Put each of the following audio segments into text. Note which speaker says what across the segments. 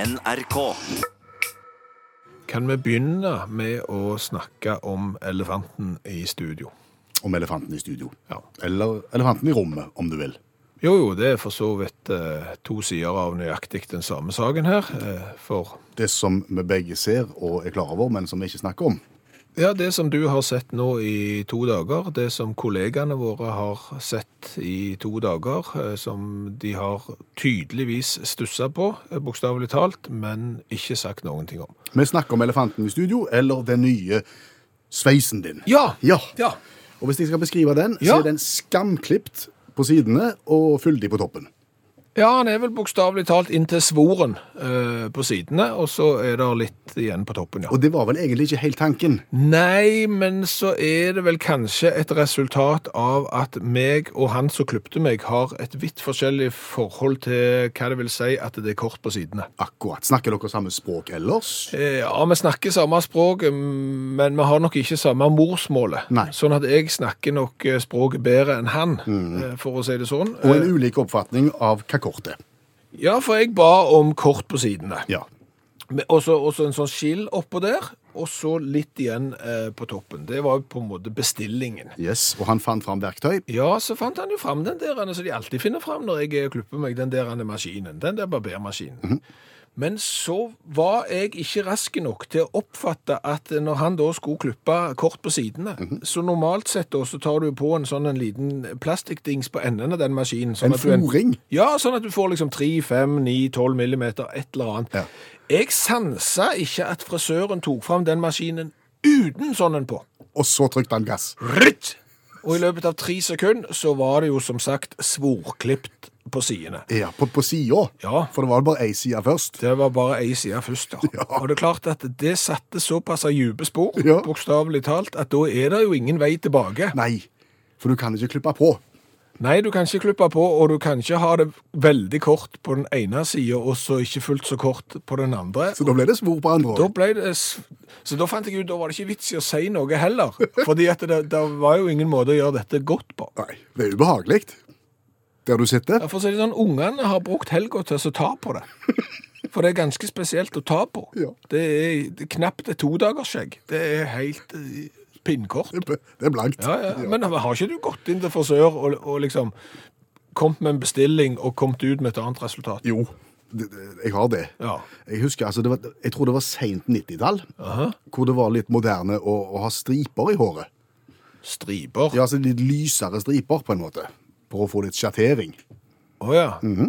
Speaker 1: NRK.
Speaker 2: Kan vi begynne med å snakke om elefanten i studio?
Speaker 3: Om elefanten i studio.
Speaker 2: Ja.
Speaker 3: Eller elefanten i rommet, om du vil.
Speaker 2: Jo, jo, det er for så vidt eh, to sider av nøyaktig den samme saken her. Eh, for
Speaker 3: Det som vi begge ser og er klar over, men som vi ikke snakker om.
Speaker 2: ja, det som du har sett nå i to dager, det som kollegaene våre har sett i to dager, eh, som de har tydeligvis stussa på, eh, bokstavelig talt, men ikke sagt noen ting om.
Speaker 3: Vi snakker om elefanten i studio, eller den nye sveisen din.
Speaker 2: Ja!
Speaker 3: Ja.
Speaker 2: Ja.
Speaker 3: Og hvis jeg skal beskrive den,
Speaker 2: Ja.
Speaker 3: så er den skamklipt på sidene og fyldig på toppen.
Speaker 2: Ja, han er vel bokstavelig talt inntil svoren eh, på sidene, og så er det litt igjen på toppen, ja.
Speaker 3: Og det var vel egentlig ikke helt tanken.
Speaker 2: Nei, men så er det vel kanskje et resultat av at meg og han som klipte meg, har et vidt forskjellig forhold til hva det vil si at det er kort på sidene.
Speaker 3: Akkurat. Snakker dere samme språk ellers?
Speaker 2: Eh, Ja, vi snakker samme språk, mm, men vi har nok ikke samme morsmålet.
Speaker 3: Nei.
Speaker 2: Sånn at jeg snakker nok eh, språket bedre enn han, eh, for å si det sånn.
Speaker 3: Mm. Og en
Speaker 2: Eh,
Speaker 3: ulik oppfatning av hva kort er.
Speaker 2: Ja, for jeg ba om kort på sidene.
Speaker 3: Ja.
Speaker 2: Men Også, også en sånn skill oppå der, og så litt igjen eh, på toppen. Det var jo på en måte bestillingen.
Speaker 3: Yes. Og han fant fram verktøy.
Speaker 2: Ja, så fant han jo fram den der ene som de alltid finner fram når jeg eh, klipper meg, den der ene maskinen, den der barbermaskinen.
Speaker 3: Mhm.
Speaker 2: Men så var jeg ikke rask nok til å oppfatte at eh, når han da skulle klippe kort på sidene,
Speaker 3: Mhm.
Speaker 2: så normalt sett da, så tar du på en sånn en liten plastikkdings på enden av den maskinen. Sånn
Speaker 3: En
Speaker 2: at du en-
Speaker 3: floring?
Speaker 2: Ja, sånn at du får liksom 3, 5, 9, 12 millimeter, et eller annet.
Speaker 3: Ja.
Speaker 2: Jeg sansa ikke at frisøren tok fram den maskinen uten sånn en på.
Speaker 3: Og så trykte han gass.
Speaker 2: Rytt! Og i løpet av tre sekunder så var det jo som sagt svorklipt på sidene.
Speaker 3: Ja, på, på sida.
Speaker 2: Ja.
Speaker 3: For det var bare ei side først.
Speaker 2: Det var bare ei side først, da.
Speaker 3: Ja.
Speaker 2: Og det er klart at det satte såpass av dype spor,
Speaker 3: Ja.
Speaker 2: bokstavelig talt, at da er det jo ingen vei tilbake.
Speaker 3: Nei, for du kan ikke klippe på.
Speaker 2: Nei, du kan ikke klippe på, og du kan ikke ha det veldig kort på den ene sida, og så ikke fullt så kort på den andre.
Speaker 3: Så da ble det svor på andre
Speaker 2: Da
Speaker 3: også.
Speaker 2: ble det, s- så da fant jeg ut da var det ikke vits i å si noe heller. Fordi at det, det var jo ingen måte å gjøre dette godt på.
Speaker 3: Nei, det er ubehagelig. Der du sitter.
Speaker 2: Ja, for å si det sånn, Ungene har brukt helga til å ta på det. For det er ganske spesielt å ta på.
Speaker 3: Ja.
Speaker 2: Det er det er knapt et todagersskjegg. Det er helt eh, pinnkort.
Speaker 3: Det ble- det er blankt.
Speaker 2: Ja, ja. Men har ikke du gått inn til frisør og, og liksom kommet med en bestilling og kommet ut med et annet resultat?
Speaker 3: Jo, det, det, jeg har det.
Speaker 2: Ja.
Speaker 3: Jeg husker, altså, det var, jeg tror det var sent 90-tall, hvor det var litt moderne å, å ha striper i håret.
Speaker 2: Striper. Å ja.
Speaker 3: Ja, altså litt lysere striper, på en måte. For å få litt sjattering. Mhm.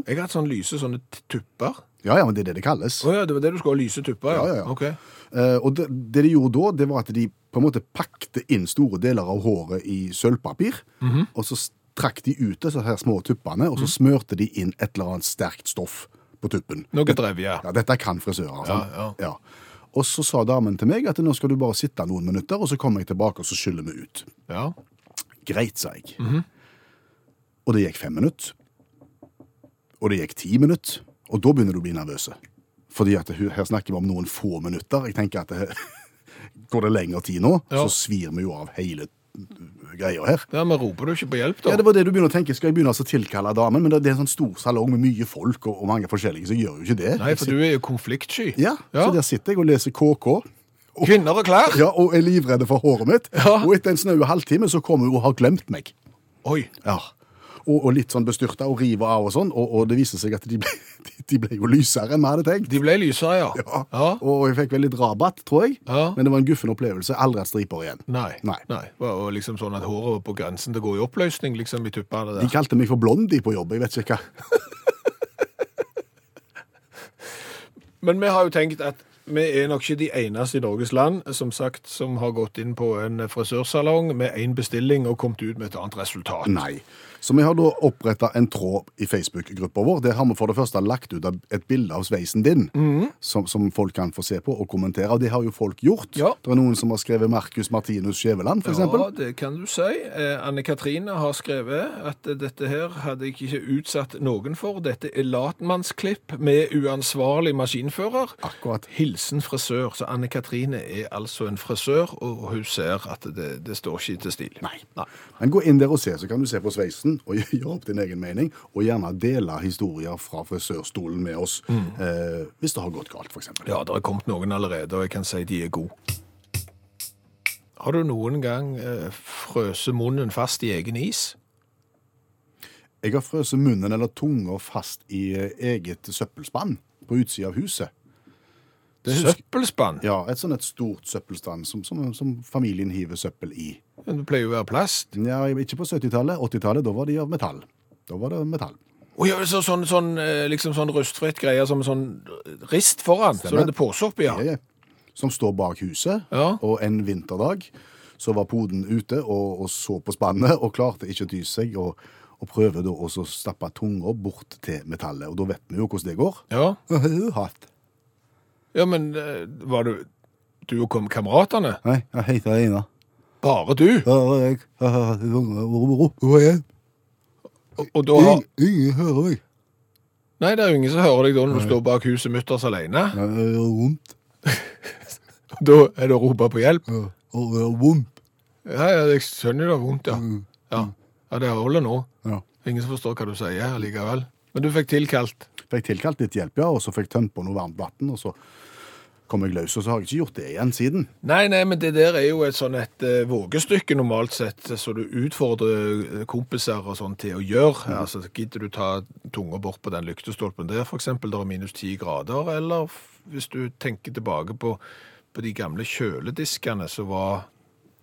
Speaker 2: Jeg har hatt sånn lyse sånne t- tupper.
Speaker 3: Ja, ja, men det er det det kalles.
Speaker 2: Å ja, det var det du skulle ha. Lyse tupper, ja.
Speaker 3: Ja, ja, ja.
Speaker 2: Ok.
Speaker 3: Eh, og det, det de gjorde da, det var at de på en måte pakte inn store deler av håret i sølvpapir,
Speaker 2: Mhm.
Speaker 3: og så trakk de ut disse her små tuppene, og så smørte de inn et eller annet sterkt stoff på tuppen.
Speaker 2: Noe drevje.
Speaker 3: Ja, dette kan frisører, sant?
Speaker 2: Ja,
Speaker 3: altså. Og så sa damen til meg at nå skal du bare sitte noen minutter, og så kommer jeg tilbake, og så skyller vi ut.
Speaker 2: Ja.
Speaker 3: Greit, sa jeg.
Speaker 2: Mhm.
Speaker 3: Og det gikk fem minutter. Og det gikk ti minutter. Og da begynner du å bli nervøse. Fordi at hu- her snakker vi om noen få minutter. Jeg tenker at det, Går det lengre tid nå,
Speaker 2: Ja.
Speaker 3: så svir vi jo av hele mm, greia her.
Speaker 2: ja, Men roper du ikke på hjelp, da?
Speaker 3: Ja, Det var det du begynner å tenke. Skal jeg begynne altså å tilkalle damen? Men det det er en sånn stor salong med mye folk og, og mange forskjellige, så jeg gjør jo ikke det.
Speaker 2: Nei, for du er jo konfliktsky.
Speaker 3: Ja,
Speaker 2: Ja.
Speaker 3: Så der sitter jeg og leser KK.
Speaker 2: Kvinner og klær!
Speaker 3: Ja, Og er livredd for håret mitt.
Speaker 2: Ja.
Speaker 3: Og etter en snaue halvtime så kommer hun og har glemt meg.
Speaker 2: Oi.
Speaker 3: Ja. Og, og litt sånn bestyrta og rive av og sånn, og, og det viste seg at de ble, de, de ble jo lysere enn vi hadde tenkt.
Speaker 2: De ble lysere, ja.
Speaker 3: Ja.
Speaker 2: Ja.
Speaker 3: Og jeg fikk vel litt rabatt, tror jeg.
Speaker 2: Ja.
Speaker 3: Men det var en guffen opplevelse. Aldri hatt striper igjen.
Speaker 2: Nei.
Speaker 3: Nei.
Speaker 2: Det var jo liksom sånn at håret var på grensen til å gå i oppløsning, liksom, i tuppene
Speaker 3: De
Speaker 2: der.
Speaker 3: kalte meg for blondie på jobb, jeg vet ikke hva.
Speaker 2: Men vi har jo tenkt at vi er nok ikke de eneste i Norges land, som sagt, som har gått inn på en frisørsalong med én bestilling og kommet ut med et annet resultat.
Speaker 3: Nei. Så vi har da oppretta en tråd i Facebook-gruppa vår. Der har vi for det første lagt ut av- et bilde av sveisen din,
Speaker 2: Mhm.
Speaker 3: som, som folk kan få se på og kommentere. Og det har jo folk gjort.
Speaker 2: Ja.
Speaker 3: Det er noen som har skrevet Markus Martinus Skjæveland, for eksempel.
Speaker 2: Ja, det kan du si. Eh, Anne Katrine har skrevet at dette her hadde jeg ikke utsatt noen for. Dette er latmannsklipp med uansvarlig maskinfører.
Speaker 3: Akkurat.
Speaker 2: hilsen frisør. Så Anne Katrine er altså en frisør, og hun ser at det, det står ikke til stil.
Speaker 3: Nei.
Speaker 2: Nei.
Speaker 3: Men gå inn der og se, så kan du se på sveisen og gjøre opp din egen mening. Og gjerne dele historier fra frisørstolen med oss eh, hvis det har gått galt, f.eks.
Speaker 2: Ja, det er kommet noen allerede, og jeg kan si de er gode. Har du noen gang eh, frøse munnen fast i egen is?
Speaker 3: Jeg har frøset munnen eller tunga fast i eh, eget søppelspann på utsida av huset. Det husker-
Speaker 2: Søppelspann?
Speaker 3: Ja, et sånn et stort søppelstand som, som, som familien hiver søppel i.
Speaker 2: Men Det pleier jo å være plast.
Speaker 3: Ja, ikke på 70-tallet. 80-tallet, da var de av metall. Da var det metall.
Speaker 2: Å ja, så, sånn, sånn, eh, liksom sånn rustfritt greie som en sånn rist foran, så
Speaker 3: Stemmer.
Speaker 2: det er pose oppi, ja.
Speaker 3: Ja, ja. Som står bak huset,
Speaker 2: Ja.
Speaker 3: og en vinterdag så var poden ute og, og så på spannet og klarte ikke å dy seg, og, og prøver da også å stappe tunga bort til metallet. Og da vet vi jo hvordan det går.
Speaker 2: Ja,
Speaker 3: Hatt.
Speaker 2: ja men eh, var du Du og kom- kameratene?
Speaker 3: Nei, jeg heter Einar.
Speaker 2: Bare du?
Speaker 3: Hører jeg. Hvor er jeg?
Speaker 2: Og, og da har
Speaker 3: Ingen hører meg.
Speaker 2: Nei, det er jo ingen som hører deg da når du står bak huset mutters alene.
Speaker 3: Det er vondt.
Speaker 2: Da er det å rope på hjelp.
Speaker 3: Det er vondt.
Speaker 2: Ja, ja, jeg skjønner det er vondt, ja. Ja, ja det holder nå.
Speaker 3: Ja.
Speaker 2: Ingen som forstår hva du sier her likevel. Men du fikk tilkalt.
Speaker 3: Fikk tilkalt litt hjelp, ja, og så fikk tømt på noe varmt vann, og så kom jeg løs, og så har jeg ikke gjort det igjen siden.
Speaker 2: Nei, nei, men det der er jo et sånn et eh, vågestykke normalt sett, så du utfordrer eh, kompiser og sånn til å gjøre. Altså, gidder du ta tunga bort på den lyktestolpen der, for eksempel, der er minus 10 grader, eller f- hvis du tenker tilbake på, på de gamle kjølediskene som var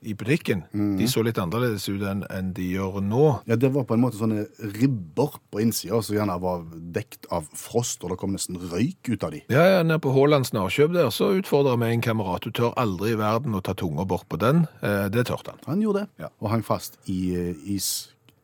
Speaker 2: i butikken, de så litt annerledes ut enn enn de gjør nå.
Speaker 3: Ja, Det var på en måte sånne ribber på innsida som gjerne var dekt av frost, og det kom nesten røyk ut av de.
Speaker 2: Ja, ja, nede på Haalands narkjøp der, så utfordrer vi en kamerat. Du tør aldri i verden å ta tunga bort på den. Eh, det tørte han.
Speaker 3: Han gjorde det,
Speaker 2: Ja.
Speaker 3: og hang fast i eh, is...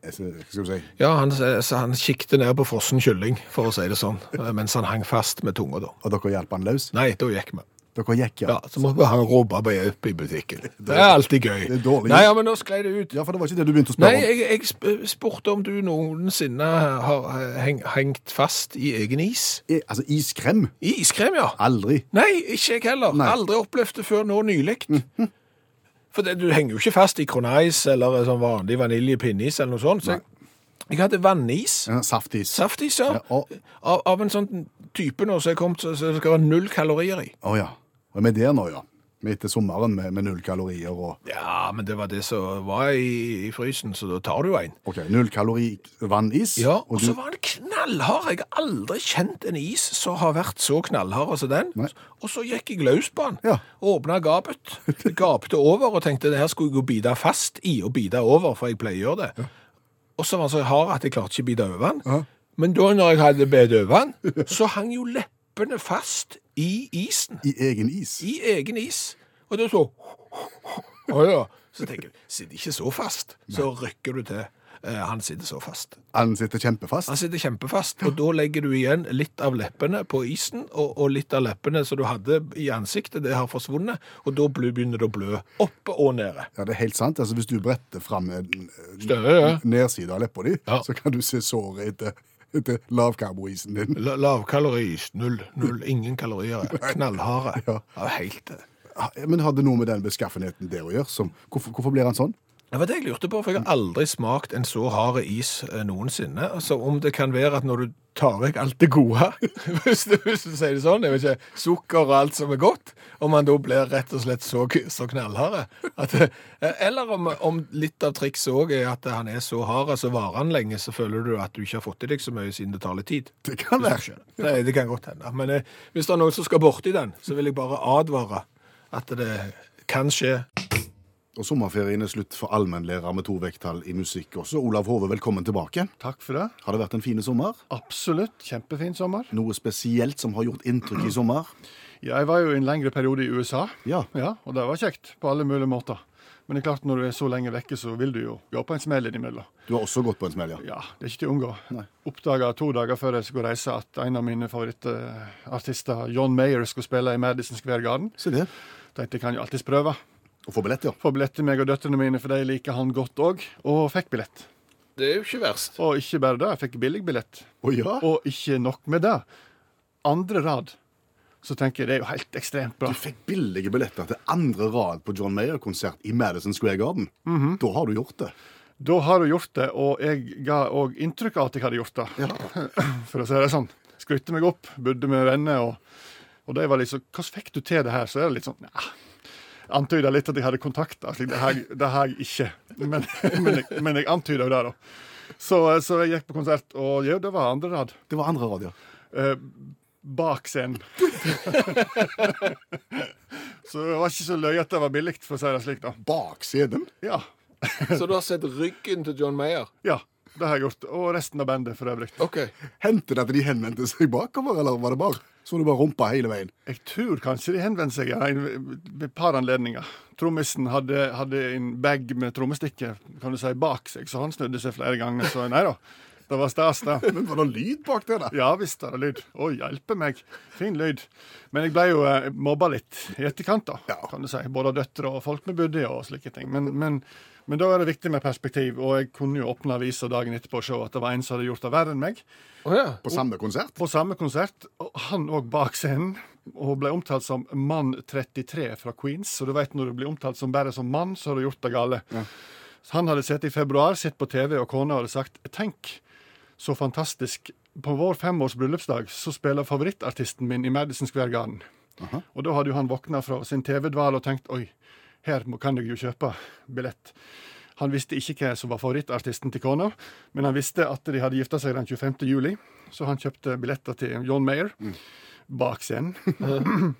Speaker 3: eh, Hva skal vi si?
Speaker 2: Ja, han, eh, så han kikte ned på frossen kylling, for å si det sånn, eh, mens han hang fast med tunga da.
Speaker 3: Og dere hjalp han løs?
Speaker 2: Nei, da gikk vi.
Speaker 3: Dere gikk, ja.
Speaker 2: Ja, så måtte han råpe på hjelp i butikken. Det er alltid gøy.
Speaker 3: Det er dårlig.
Speaker 2: Nei, ja, men nå sklei det ut.
Speaker 3: Ja, for det var ikke det du begynte å
Speaker 2: Nei,
Speaker 3: spørre om.
Speaker 2: jeg, jeg sp- spurte om du noensinne har eh, heng, hengt fast i egen is.
Speaker 3: I, altså, iskrem?
Speaker 2: I iskrem, ja.
Speaker 3: Aldri.
Speaker 2: Nei, ikke jeg heller.
Speaker 3: Nei. Mhm.
Speaker 2: Aldri opplevd det før nå nylig. For det, du henger jo ikke fast i kroneis eller en sånn vanlig vaniljepinneis eller noe sånt. Så jeg, jeg hadde vannis.
Speaker 3: Ja, sånn Saftis. Å
Speaker 2: Saftis, ja.
Speaker 3: Ja, og-
Speaker 2: av, av en sånn type nå som er kommet, så så det skal være null kalorier i.
Speaker 3: ja. Og vi er der nå, ja. Vi er etter sommeren med, med null kalorier og
Speaker 2: Ja, men det var det som var i, i frysen, så da tar du en.
Speaker 3: OK, null kalori vannis.
Speaker 2: Ja,
Speaker 3: og
Speaker 2: og
Speaker 3: du
Speaker 2: så var den knallhard. Jeg har aldri kjent en is som har vært så knallhard som den.
Speaker 3: Nei.
Speaker 2: Og så gikk jeg løs på den.
Speaker 3: Ja.
Speaker 2: Åpna gapet. Gapte over og tenkte det her skulle jeg jo bite fast i og bite over, for jeg pleier å gjøre det. Og så var den så hard at jeg klarte ikke å bite over den.
Speaker 3: Ja.
Speaker 2: Men da når jeg hadde bitt over den, så hang jo leppene fast i isen.
Speaker 3: I egen is.
Speaker 2: I egen is. Og da så Å ja. Så tenker jeg, sitter ikke så fast. Så rykker du til. Eh, Han sitter så fast.
Speaker 3: Han sitter kjempefast.
Speaker 2: Han sitter kjempefast, og da legger du igjen litt av leppene på isen, og, og litt av leppene som du hadde i ansiktet, det har forsvunnet, og da bl- begynner det å blø oppe og nede.
Speaker 3: Ja, det er helt sant. Altså, hvis du bretter fram eh, n-
Speaker 2: Større, ja.
Speaker 3: nedsida av leppa di,
Speaker 2: Ja.
Speaker 3: så kan du se såret etter, etter lavkarboisen din.
Speaker 2: La, lavkaloris, null, null, ingen kalorier, knallharde. Ja. helt. eh, Det
Speaker 3: Ha- Ah, Men har det noe med den beskaffenheten der å gjøre? Som, hvorfor, hvorfor blir han sånn?
Speaker 2: var det jeg lurte på, for jeg har aldri smakt en så hard is eh, noensinne. Altså, om det kan være at når du tar vekk alt det gode, hvis du, hvis du sier det sånn, jeg vet ikke, sukker og alt som er godt, om man da blir rett og slett så, så knallharde. At, eh, eller om, om litt av trikset òg er at han er så hard, så varer han lenge, så føler du at du ikke har fått i deg så mye siden det tar litt tid.
Speaker 3: Det kan
Speaker 2: Hvis
Speaker 3: være.
Speaker 2: du skjønner. Nei, det kan godt hende. Men eh, hvis det er noen som skal borti den, så vil jeg bare advare at det kan skje.
Speaker 3: Og sommerferien er slutt for allmennlærer med to vekttall i musikk også. Olav Hove, velkommen tilbake.
Speaker 1: Takk for det.
Speaker 3: Har det vært en fin sommer?
Speaker 1: Absolutt. Kjempefin sommer.
Speaker 3: Noe spesielt som har gjort inntrykk i sommer?
Speaker 1: Jeg var jo i en lengre periode i USA,
Speaker 3: Ja.
Speaker 1: ja, og det var kjekt på alle mulige måter. Men det er klart, når du er så lenge vekke, så vil du jo gå på en smell innimellom.
Speaker 3: Du har også gått på en smell, ja.
Speaker 1: Ja, det er ikke til å unngå. Oppdaga to dager før jeg skulle reise at en av mine favorittartister, John Mayer, skulle spille i Madison Square Garden.
Speaker 3: Se det.
Speaker 1: Tenkte jeg kan jo alltids prøve.
Speaker 3: Å få billett, ja.
Speaker 1: Få billett til meg og døtrene mine, for de liker han godt òg. Og fikk billett.
Speaker 2: Det er jo ikke verst.
Speaker 1: Og ikke
Speaker 3: Ah.
Speaker 1: bare det, jeg fikk billig billett.
Speaker 3: Å ja?
Speaker 1: Og ikke nok med det. Andre rad så tenker jeg det er jo helt ekstremt bra.
Speaker 3: Du fikk billige billetter til andre rad på John Mayer-konsert i Madison Square Garden.
Speaker 2: Mhm.
Speaker 3: Da har du gjort det.
Speaker 1: Da har du gjort det, og jeg ga òg inntrykk av at jeg hadde gjort det. For å si det sånn. Skrytte meg opp, budde med venner, og, og de var liksom Hvordan fikk du til det her? Så er det litt sånn ja. Antyda litt at jeg hadde kontakter. Slik, det, har jeg- det har jeg ikke. Men, men, jeg, men jeg antyda jo det, da. Så, så jeg gikk på konsert, og jo, det var andre rad.
Speaker 3: Det var andre rad, ja.
Speaker 1: Eh, bak scenen. så det var ikke så løye at det var billig, for å si det slik, da.
Speaker 3: Bak scenen.
Speaker 1: Ja.
Speaker 2: Så du har sett ryggen til John Mayer?
Speaker 1: Ja, det har jeg gjort. Og resten av bandet for øvrig.
Speaker 2: OK.
Speaker 3: Hendte det at de henvendte seg bakover, eller var det bare så du bare rumpa hele veien?
Speaker 1: Jeg tror kanskje de henvendte seg ja, en- ved et par anledninger. Trommisen hadde, hadde en bag med trommestikker kan du si, bak seg, så han snudde seg flere ganger. Så nei da, det var stas, det.
Speaker 3: Men var det lyd bak det, da?
Speaker 1: Ja visst er det lyd. Å, hjelpe meg. Fin lyd. Men jeg ble jo eh, mobba litt i etterkant, da,
Speaker 3: Ja.
Speaker 1: kan du si. Både av døtre og folk vi bodde i og slike ting. Men, men, men da er det viktig med perspektiv, og jeg kunne jo åpne avisa dagen etterpå og se at det var en som hadde gjort det verre enn meg.
Speaker 2: Å ja.
Speaker 3: På samme konsert?
Speaker 1: på samme konsert, og han òg bak scenen, og ble omtalt som mann 33 fra Queens. Så du vet når du blir omtalt som bare som mann, så har du gjort det gale. Så Han hadde sett i februar, sett på TV, og kona hadde sagt 'tenk, så fantastisk'. På vår femårs bryllupsdag så spiller favorittartisten min i Madison Square Garden. Og da hadde jo han våkna fra sin TV-dvale og tenkt 'oi, her må, kan jeg jo kjøpe billett'. Han visste ikke hva som var favorittartisten til kona, men han visste at de hadde gifta seg den 25. juli, så han kjøpte billetter til John Mayer bak scenen.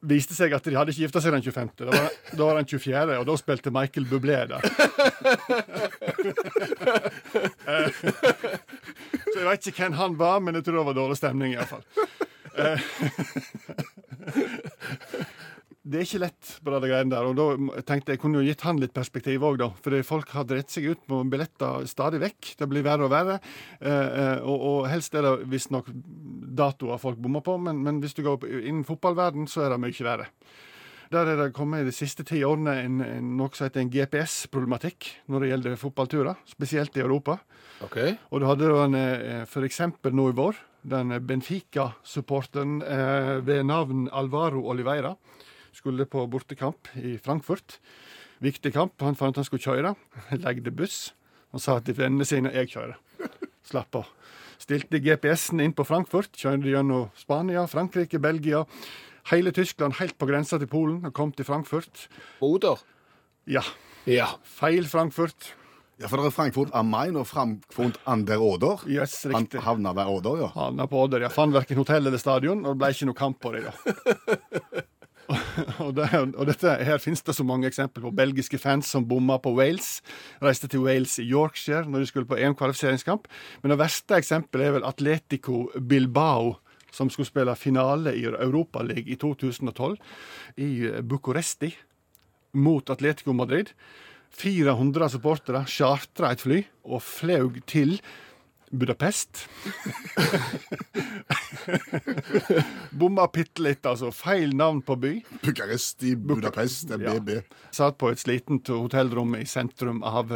Speaker 1: Viste seg at de hadde ikke gifta seg den 25., da var, da var den 24., og da spilte Michael Bublé der. Eh, så jeg veit ikke hvem han var, men jeg tror det var dårlig stemning, iallfall. det er ikke lett på det greiene der. Og da tenkte jeg jeg kunne jo gitt han litt perspektiv òg, da. Fordi folk har dritt seg ut på billetter stadig vekk. Det blir verre og verre. Eh, eh, og, og helst er det visstnok datoer folk bommer på, men, men hvis du går opp innen fotballverden, så er det mye verre. Der er det kommet i de siste ti årene en, en, noe som heter en GPS-problematikk når det gjelder fotballturer, spesielt i Europa.
Speaker 2: OK.
Speaker 1: Og du hadde jo en, eh, for eksempel nå i vår, den Benfica-supporteren eh, ved navn Alvaro Oliveira skulle på bortekamp i Frankfurt. Viktig kamp. Han fant han skulle kjøre. Legde buss. Han sa til vennene sine 'jeg kjører'. Slapp av. Stilte GPS-en inn på Frankfurt, kjørte gjennom Spania, Frankrike, Belgia, hele Tyskland, helt på grensa til Polen, og kom til Frankfurt.
Speaker 2: Moder.
Speaker 1: Ja,
Speaker 2: Ja.
Speaker 1: feil Frankfurt.
Speaker 3: Ja, for det er Frankfurt am Main og Frankfurt an der Oder.
Speaker 1: Yes,
Speaker 3: Han
Speaker 1: riktig.
Speaker 3: havna ved Oder, ja.
Speaker 1: havna på Odder. Jeg fant verken hotell eller stadion, og det ble ikke noe kamp på det. da. og, det, og dette, Her finnes det så mange eksempler på belgiske fans som bomma på Wales. Reiste til Wales i Yorkshire når de skulle på EM-kvalifiseringskamp. Men det verste eksempelet er vel Atletico Bilbao, som skulle spille finale i Europaligaen i 2012 i Bucuresti mot Atletico Madrid. 400 supportere chartra et fly og flaug til Budapest. Bomma bitte litt, altså. Feil navn på by.
Speaker 3: Bucuresti, Budapest, det er
Speaker 1: Ja.
Speaker 3: BB.
Speaker 1: Satt på et slitent hotellrom i sentrum av,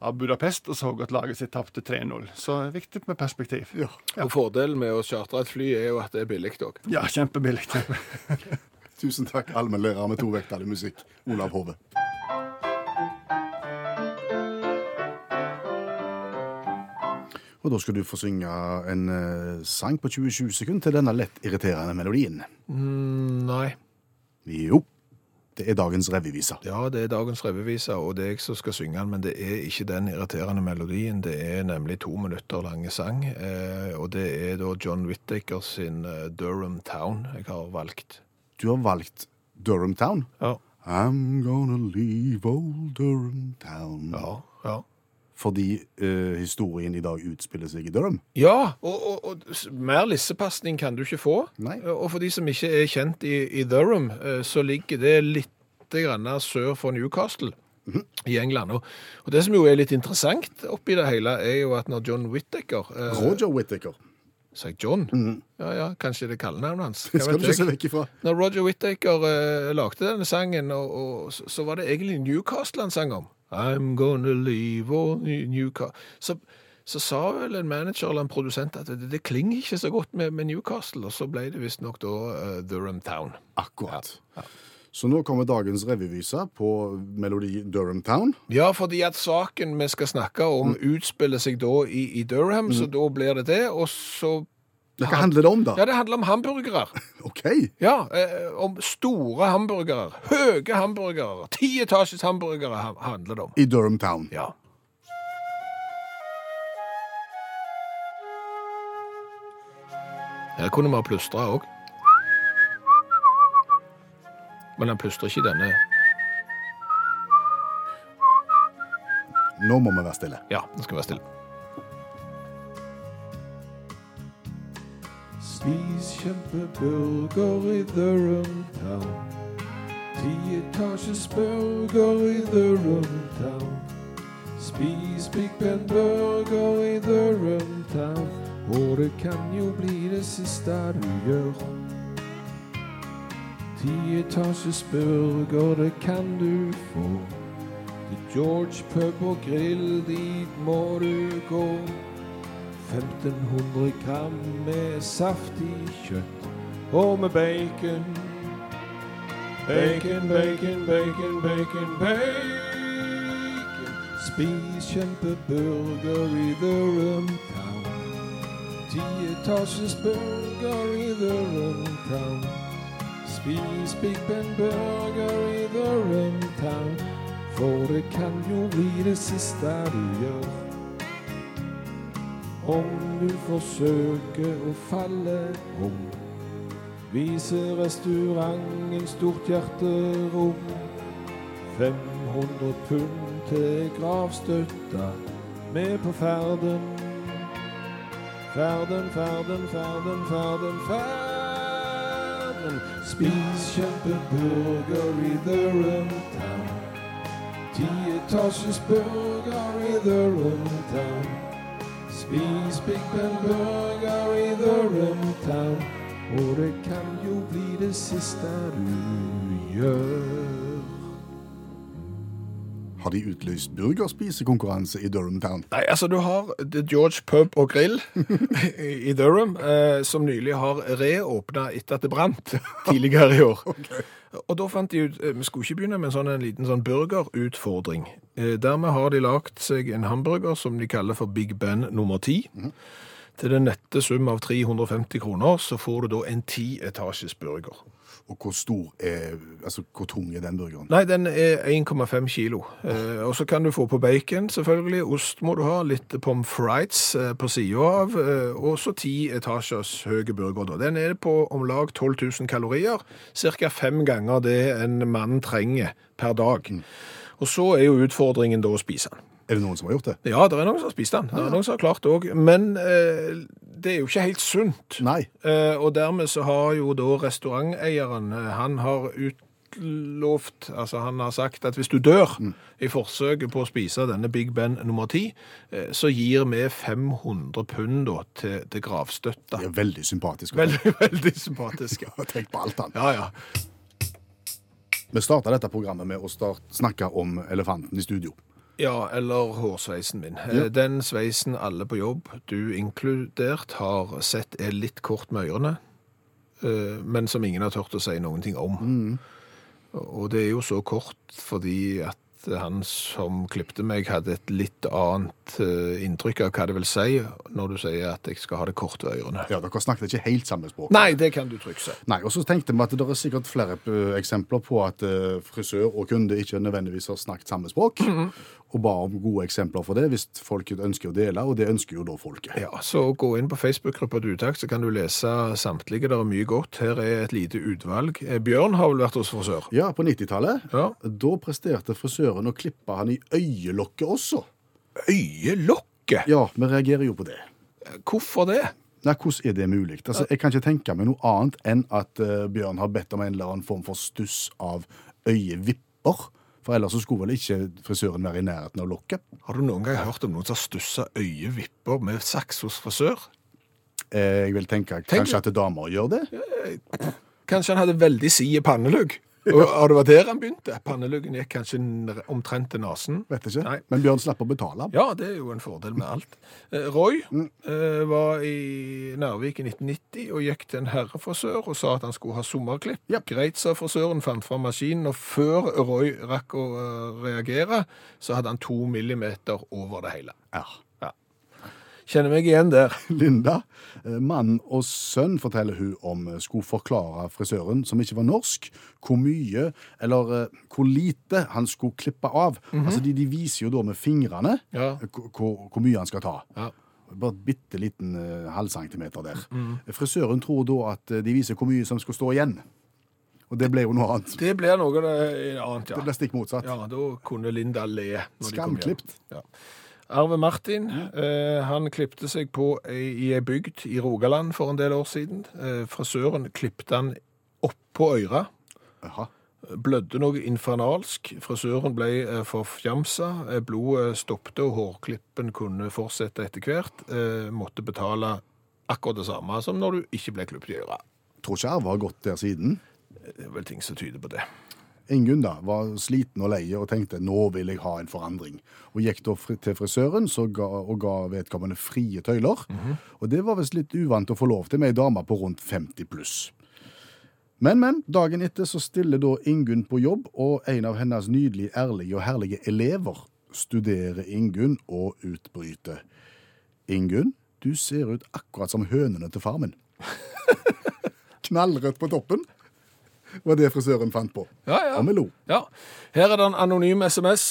Speaker 1: av Budapest og så at laget sitt tapte 3-0. Så viktig med perspektiv.
Speaker 3: Ja.
Speaker 2: Og fordelen med å chartre et fly er jo at det er billig òg.
Speaker 1: Ja, kjempebillig.
Speaker 3: Tusen takk, allmennlærer med to vekttall i musikk, Olav Hove. Og da skal du få synge en eh, sang på 27 sekunder til denne lett irriterende melodien.
Speaker 2: Mm, Nei.
Speaker 3: Jo, det er dagens revyvise.
Speaker 2: Ja, det er dagens revyvise, og det er jeg som skal synge den, men det er ikke den irriterende melodien. Det er nemlig to minutter lange sang, eh, og det er da John Whittaker sin eh, Durham Town jeg har valgt.
Speaker 3: Du har valgt Durham Town.
Speaker 2: Ja.
Speaker 3: I'm gonna leave old Durham Town.
Speaker 2: Ja, ja.
Speaker 3: Fordi eh, historien i dag utspiller seg i Durham.
Speaker 2: Ja, og, og, og s- mer lissepasning kan du ikke få.
Speaker 3: Nei.
Speaker 2: Eh, Og for de som ikke er kjent i, i Durham, eh, så ligger det litt grann sør for Newcastle
Speaker 3: Mhm.
Speaker 2: i England. Og, og det som jo er litt interessant oppi det hele, er jo at når John Whittaker eh,
Speaker 3: Roger Whittaker.
Speaker 2: Sier jeg John? Ja, ja, kanskje det er kallenavnet hans.
Speaker 3: Mhm. Det
Speaker 2: Hva
Speaker 3: skal
Speaker 2: vet
Speaker 3: du ikke se
Speaker 2: jeg?
Speaker 3: vekk ifra.
Speaker 2: Når Roger Whittaker eh, lagde denne sangen, og, og, så, så var det egentlig Newcastle han sang om. I'm gonna leave all Newcastle så, så sa vel en manager eller en produsent at det, det klinger ikke så godt med, med Newcastle, og så ble det visstnok da eh, Durham Town.
Speaker 3: Akkurat. Så nå kommer dagens revyvise på melodi Durham Town.
Speaker 2: Ja, fordi at saken vi skal snakke om utspiller seg da i, i Durham, så da blir det det, og så
Speaker 3: Hva handler det om, da?
Speaker 2: Ja, det handler om hamburgere.
Speaker 3: OK.
Speaker 2: Ja, eh, om store hamburgere. Høye hamburgere. Tietasjes hamburgere ha- handler det om.
Speaker 3: I Durham Town.
Speaker 2: Ja. Her kunne vi ha plystra òg. Men han plystrer ikke i denne.
Speaker 3: Nå må vi være stille.
Speaker 2: Ja, nå skal vi være stille.
Speaker 4: Spis kjempeburger i Durham Town. Tietasjes burger i Durham Town. Spis Big Ben burger i Durham Town. Og det kan jo bli det siste du gjør. Tietasjes burger, det kan du få. Til George pub og grill, dit må du gå. 1500 gram med saftig kjøtt og med bacon. Bacon, bacon, bacon, bacon, bacon. Spis kjempeburger i Durham Town. Tietasjes burger i Durham Town. Spis Big Ben burger i Durham Town. For det kan jo bli det siste du gjør. Om du forsøker å falle om, viser restauranten stort hjerterom. 500 pund til gravstøtta med på ferden. Ferden, ferden, ferden, ferden, ferden. Spis kjempeburger i Durham Town. Tietasjes burger i Durham Town. Spis Big Ben burger i Durham Town. Og det kan jo bli det siste du gjør.
Speaker 3: Har de utlyst burgerspisekonkurranse i Durham Town?
Speaker 2: Nei, altså du har The George Pub og Grill i Durham, eh, som nylig har reåpna etter at det brant tidligere i år. Og da fant de ut eh, Vi skulle ikke begynne med en sånn en liten sånn burgerutfordring. Eh, dermed har de lagd seg en hamburger som de kaller for Big Ben nummer 10. Til den nette sum av 350 kroner så får du da en tietasjes burger.
Speaker 3: Og hvor stor er Altså, hvor tung er den burgeren?
Speaker 2: Nei, den er 1,5 kilo. Eh, og så kan du få på bacon, selvfølgelig. Ost må du ha. Litt pommes frites eh, på sida av. Eh, og så ti etasjers høye burger. Da. Den er på om lag 12 000 kalorier. Ca. fem ganger det en mann trenger per dag. Og så er jo utfordringen da å spise den.
Speaker 3: Er det noen som har gjort det?
Speaker 2: Ja, det er noen som har spist den. Det er noen som har klart det òg. Men eh, det er jo ikke helt sunt.
Speaker 3: Nei.
Speaker 2: Eh, Og dermed så har jo da restauranteieren, eh, han har utlovt, altså han har sagt at hvis du dør i forsøket på å spise denne Big Ben nummer 10, eh, så gir vi 500 pund da til, til gravstøtta.
Speaker 3: Det er veldig sympatisk.
Speaker 2: Veldig, veldig sympatisk. ja.
Speaker 3: Tenk på alt annet.
Speaker 2: Ja, ja.
Speaker 3: Vi starta dette programmet med å start, snakke om elefanten i studio.
Speaker 2: Ja, eller hårsveisen min. Eh, Den sveisen alle på jobb, du inkludert, har sett er litt kort med ørene, eh, men som ingen har tørt å si noen ting om. Og det er jo så kort fordi at han som klippte meg hadde et litt annet eh, inntrykk av hva det vil si når du sier at jeg skal ha det kort ved ørene.
Speaker 3: Ja, Dere snakket ikke helt samme språk.
Speaker 2: Nei, det kan du trygt si.
Speaker 3: Nei, Og så tenkte vi at det er sikkert flere eh, eksempler på at eh, frisør og kunde ikke nødvendigvis har snakket samme språk,
Speaker 2: Mhm.
Speaker 3: og ba om gode eksempler for det hvis folket ønsker å dele, og det ønsker jo da folket.
Speaker 2: Ja, så gå inn på Facebook-gruppa til Utakt, så kan du lese samtlige. Det er mye godt. Her er et lite utvalg. Eh, Bjørn har vel vært hos frisør?
Speaker 3: Ja, på 90-tallet.
Speaker 2: Ja.
Speaker 3: Da presterte frisøren å klippe han i øyelokket også.
Speaker 2: Øyelokket?
Speaker 3: Ja, vi reagerer jo på det.
Speaker 2: Hvorfor det?
Speaker 3: Nei, Hvordan er det mulig? Altså, jeg kan ikke tenke meg noe annet enn at eh, Bjørn har bedt om en eller annen form for stuss av øyevipper. For ellers så skulle vel ikke frisøren være i nærheten av lokket.
Speaker 2: Har du noen gang hørt om noen som har stussa øyevipper med saks hos frisør?
Speaker 3: Eh, jeg vil tenke
Speaker 2: Tenk-
Speaker 3: kanskje at damer gjør det.
Speaker 2: Kanskje han hadde veldig side pannelugg? Og, og det var der han begynte. Panneluggen gikk kanskje n- omtrent til nesen.
Speaker 3: Vet ikke.
Speaker 2: Nei.
Speaker 3: Men Bjørn slapp å betale.
Speaker 2: Ja, det er jo en fordel med alt. Eh, Roy eh, var i Narvik i 1990 og gikk til en herrefrisør og sa at han skulle ha sommerklipp.
Speaker 3: Japp.
Speaker 2: Greit, sa frisøren, fant fram maskinen, og før Roy rakk å eh, reagere, så hadde han to millimeter over det hele.
Speaker 3: Ja.
Speaker 2: Kjenner meg igjen der.
Speaker 3: Linda, eh, mann og sønn, forteller hun om, eh, skulle forklare frisøren, som ikke var norsk, hvor mye eller eh, hvor lite han skulle klippe av. Altså, de, de viser jo da med fingrene
Speaker 2: Ja.
Speaker 3: eh, hvor- hvor hvor mye han skal ta.
Speaker 2: Ja.
Speaker 3: Bare et bitte liten eh, halv centimeter der.
Speaker 2: Mm.
Speaker 3: Frisøren tror da at eh, de viser hvor mye som skulle stå igjen. Og det ble jo noe annet.
Speaker 2: Det blir noe eh, annet,
Speaker 3: Det
Speaker 2: ja.
Speaker 3: ble stikk motsatt.
Speaker 2: Ja, da kunne Linda le. når de kom hjem.
Speaker 3: Skamklipt.
Speaker 2: Ja. Arve Martin eh, han klipte seg på ei- i ei bygd i Rogaland for en del år siden. Eh, frisøren klipte han oppå øra.
Speaker 3: Jaha.
Speaker 2: Blødde noe infernalsk. Frisøren ble eh, forfjamsa. Eh, Blodet stoppte, og hårklippen kunne fortsette etter hvert. Eh, måtte betale akkurat det samme som når du ikke ble klippet i øra.
Speaker 3: Tror ikke Arve har gått der siden.
Speaker 2: Det er vel ting som tyder på det.
Speaker 3: Ingunn da var sliten og leie og tenkte nå vil jeg ha en forandring. Og gikk da fri- til frisøren så ga, og ga vedkommende frie tøyler. Og det var visst litt uvant å få lov til med ei dame på rundt 50 pluss. Men, men, dagen etter så stiller da Ingunn på jobb, og en av hennes nydelige, ærlige og herlige elever studerer Ingunn og utbryter. Ingunn, du ser ut akkurat som hønene til farmen. Knallrødt på toppen, var det frisøren fant på.
Speaker 2: Ja, ja.
Speaker 3: Og vi lo.
Speaker 2: Ja. Her er det en anonym SMS.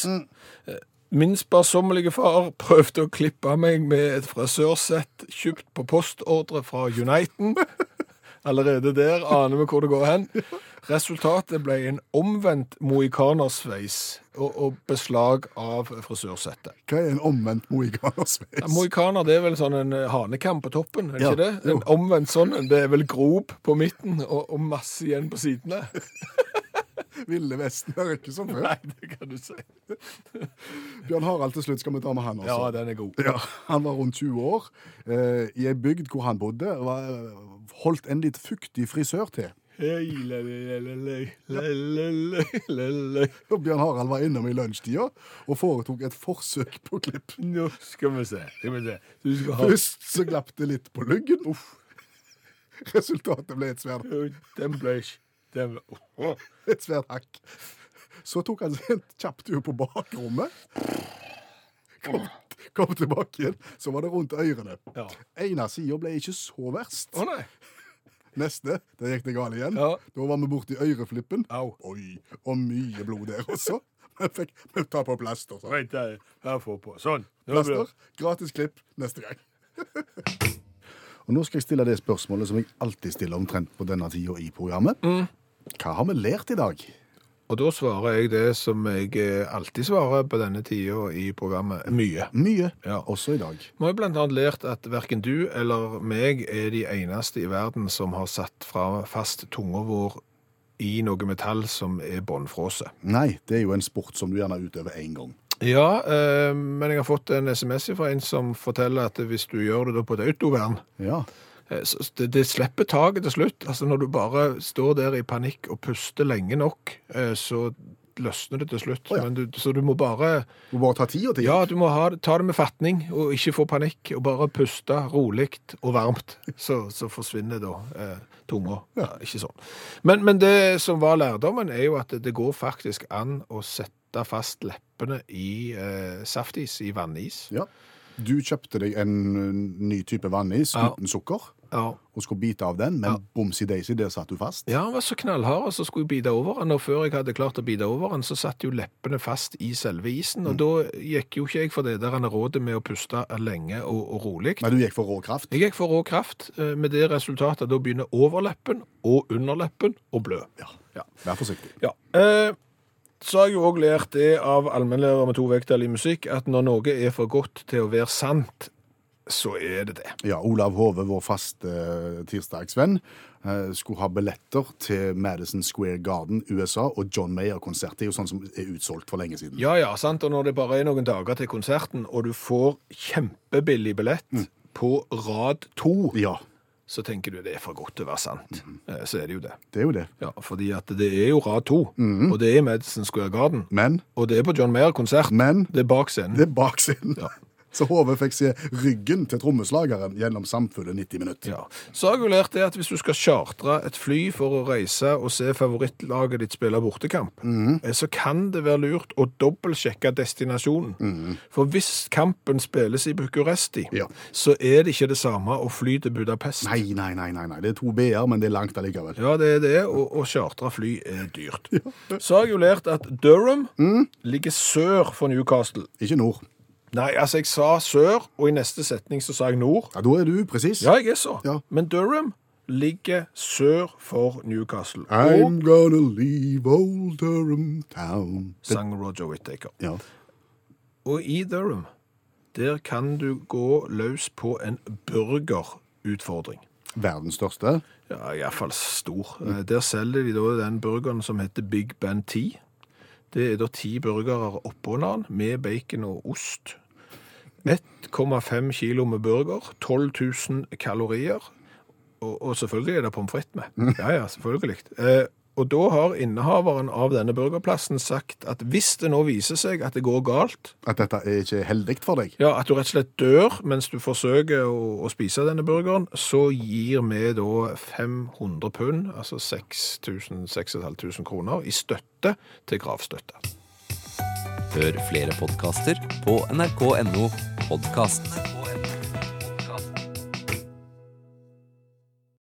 Speaker 2: Min sparsommelige far prøvde å klippe meg med et frisørsett kjøpt på postordre fra Uniten. Allerede der aner vi hvor det går hen. Resultatet ble en omvendt mohikanersveis og, og beslag av frisørsettet.
Speaker 3: Hva er en omvendt mohikanersveis?
Speaker 2: Ja, mohikaner det er vel sånn en eh, hanekam på toppen, er det
Speaker 3: Ja,
Speaker 2: ikke det? En omvendt sånn en. Det er vel grop på midten og, og masse igjen på sidene.
Speaker 3: Ville Vesten er ikke som før.
Speaker 2: Nei, det kan du si.
Speaker 3: Bjørn Harald til slutt skal vi ta med han
Speaker 2: Ja,
Speaker 3: også.
Speaker 2: den er god.
Speaker 3: Ja, han var rundt 20 år. Eh, I ei bygd hvor han bodde, var, eh, holdt en litt fuktig frisør til.
Speaker 2: Hei, le, le, le, le, le, le, le, le, le.
Speaker 3: Og Bjørn Harald var innom i lunsjtida og foretok et forsøk på klipp.
Speaker 2: Nå skal vi se. Skal vi se. Du skal ha
Speaker 3: Først så glapp det litt på luggen. Resultatet ble et svært,
Speaker 2: Den ble ikke den ble- Åh.
Speaker 3: et svært hakk. Så tok han seg en kjapp tur på bakrommet. Kom, kom tilbake igjen, så var det rundt ørene.
Speaker 2: Ja.
Speaker 3: Ene sida ble ikke så verst.
Speaker 2: Å nei.
Speaker 3: Neste, der gikk det galt igjen.
Speaker 2: Ja.
Speaker 3: Da var vi borti øreflippen.
Speaker 2: Au.
Speaker 3: Oi, og mye blod der også. Men fikk men ta på plaster. Så.
Speaker 2: Vent, jeg jeg får på. Sånn. Nå blir
Speaker 3: Plaster, gratis klipp neste gang. og nå skal jeg stille det spørsmålet som jeg alltid stiller omtrent på denne tida i programmet.
Speaker 2: Mm.
Speaker 3: Hva har vi lært i dag?
Speaker 2: Og da svarer jeg det som jeg eh, alltid svarer på denne tida i programmet. Mye.
Speaker 3: Mye,
Speaker 2: Ja.
Speaker 3: også i dag.
Speaker 2: Vi har jo blant annet lært at verken du eller meg er de eneste i verden som har satt fra fast tunga vår i noe metall som er båndfrosset.
Speaker 3: Nei, det er jo en sport som du gjerne utøver én gang.
Speaker 2: Ja, eh, men jeg har fått en sms fra en som forteller at hvis du gjør det da på et autovern,
Speaker 3: Ja,
Speaker 2: eh, så s- det, det slipper taket til slutt. Altså når du bare står der i panikk og puster lenge nok, eh, så løsner det til slutt.
Speaker 3: Å, ja.
Speaker 2: men du, så du må bare
Speaker 3: Du må bare ta tida til.
Speaker 2: Ja, du må ha, det- ta det med fatning og ikke få panikk, og bare puste rolig og varmt. Så, så forsvinner da eh, tunga. Ja, ikke sånn. Men, men det som var lærdommen, er jo at det går faktisk an å sette fast leppene i eh, saftis, i vannis.
Speaker 3: Ja. Du kjøpte deg en ø, ny type vannis
Speaker 2: Ja.
Speaker 3: uten sukker.
Speaker 2: Ja.
Speaker 3: og skulle bite av den, men
Speaker 2: Ja.
Speaker 3: bomsi-daisy, der satt du fast.
Speaker 2: Ja, han var så knallhard, og så skulle jeg bite over han, og før jeg hadde klart å bite over han, så satt jo leppene fast i selve isen, og da gikk jo ikke jeg for det der han rådet med å puste lenge og, og rolig.
Speaker 3: Nei, du gikk for rå kraft.
Speaker 2: Jeg gikk for rå kraft, eh, med det resultatet at da begynner overleppen og underleppen å blø.
Speaker 3: Ja. Vær forsiktig.
Speaker 2: Ja. Eh, så har jeg jo òg lært det av allmennlærer med to vekttall i musikk, at når noe er for godt til å være sant, så er det det.
Speaker 3: Ja, Olav Hove, vår faste eh, tirsdagsvenn, eh, skulle ha billetter til Madison Square Garden, USA, og John Mayer-konsert. Det er jo sånn som er utsolgt for lenge siden.
Speaker 2: Ja, ja, sant. Og når det bare er noen dager til konserten, og du får kjempebillig billett på rad to,
Speaker 3: Ja.
Speaker 2: så tenker du det er for godt til å være sant. Eh, Så er det jo det.
Speaker 3: Det er jo det.
Speaker 2: Ja, fordi at det er jo rad to, og det er Madison Square Garden.
Speaker 3: Men,
Speaker 2: Og det er på John Mayer-konsert.
Speaker 3: men
Speaker 2: Det er bak scenen.
Speaker 3: det er bak scenen.
Speaker 2: Ja.
Speaker 3: Så HV fikk se ryggen til trommeslageren gjennom samfulle 90 minutter.
Speaker 2: Ja. Så har jeg jo lært det at hvis du skal chartre et fly for å reise og se favorittlaget ditt spille bortekamp,
Speaker 3: Mhm.
Speaker 2: eh, så kan det være lurt å dobbeltsjekke destinasjonen. For hvis kampen spilles i Bucuresti,
Speaker 3: Mhm. Ja.
Speaker 2: så er det ikke det samme å fly til Budapest.
Speaker 3: Nei, nei, nei, nei, nei. Det er to B-er, men det er langt allikevel.
Speaker 2: Ja, det er det, og å chartre fly er dyrt. Så har jeg jo lært at Durham
Speaker 3: Mhm.
Speaker 2: ligger sør for Newcastle.
Speaker 3: Ikke nord.
Speaker 2: Nei, altså jeg sa sør, og i neste setning så sa jeg nord.
Speaker 3: Ja, Da er du presis.
Speaker 2: Ja, jeg er så.
Speaker 3: Ja.
Speaker 2: Men Durham ligger sør for Newcastle. Og
Speaker 3: I'm gonna leave old Durham town.
Speaker 2: sang Roger Whittaker.
Speaker 3: Ja.
Speaker 2: Og i Durham, der kan du gå løs på en burgerutfordring.
Speaker 3: Verdens største.
Speaker 2: Ja, iallfall stor. Eh, Der selger de da den burgeren som heter Big Ben 10. Det er da ti burgere oppå hverandre med bacon og ost. 1,5 kilo med burger, 12 000 kalorier. Og, og selvfølgelig er det pommes frites med. Ja, ja, selvfølgelig. Eh, og da har innehaveren av denne burgerplassen sagt at hvis det nå viser seg at det går galt,
Speaker 3: At dette er ikke heldig for deg.
Speaker 2: ja, at du rett og slett dør mens du forsøker å, å spise denne burgeren, så gir vi da 500 pund, altså 6000-6500 kroner, i støtte til gravstøtte.
Speaker 5: Hør flere podkaster på nrk.no podkast.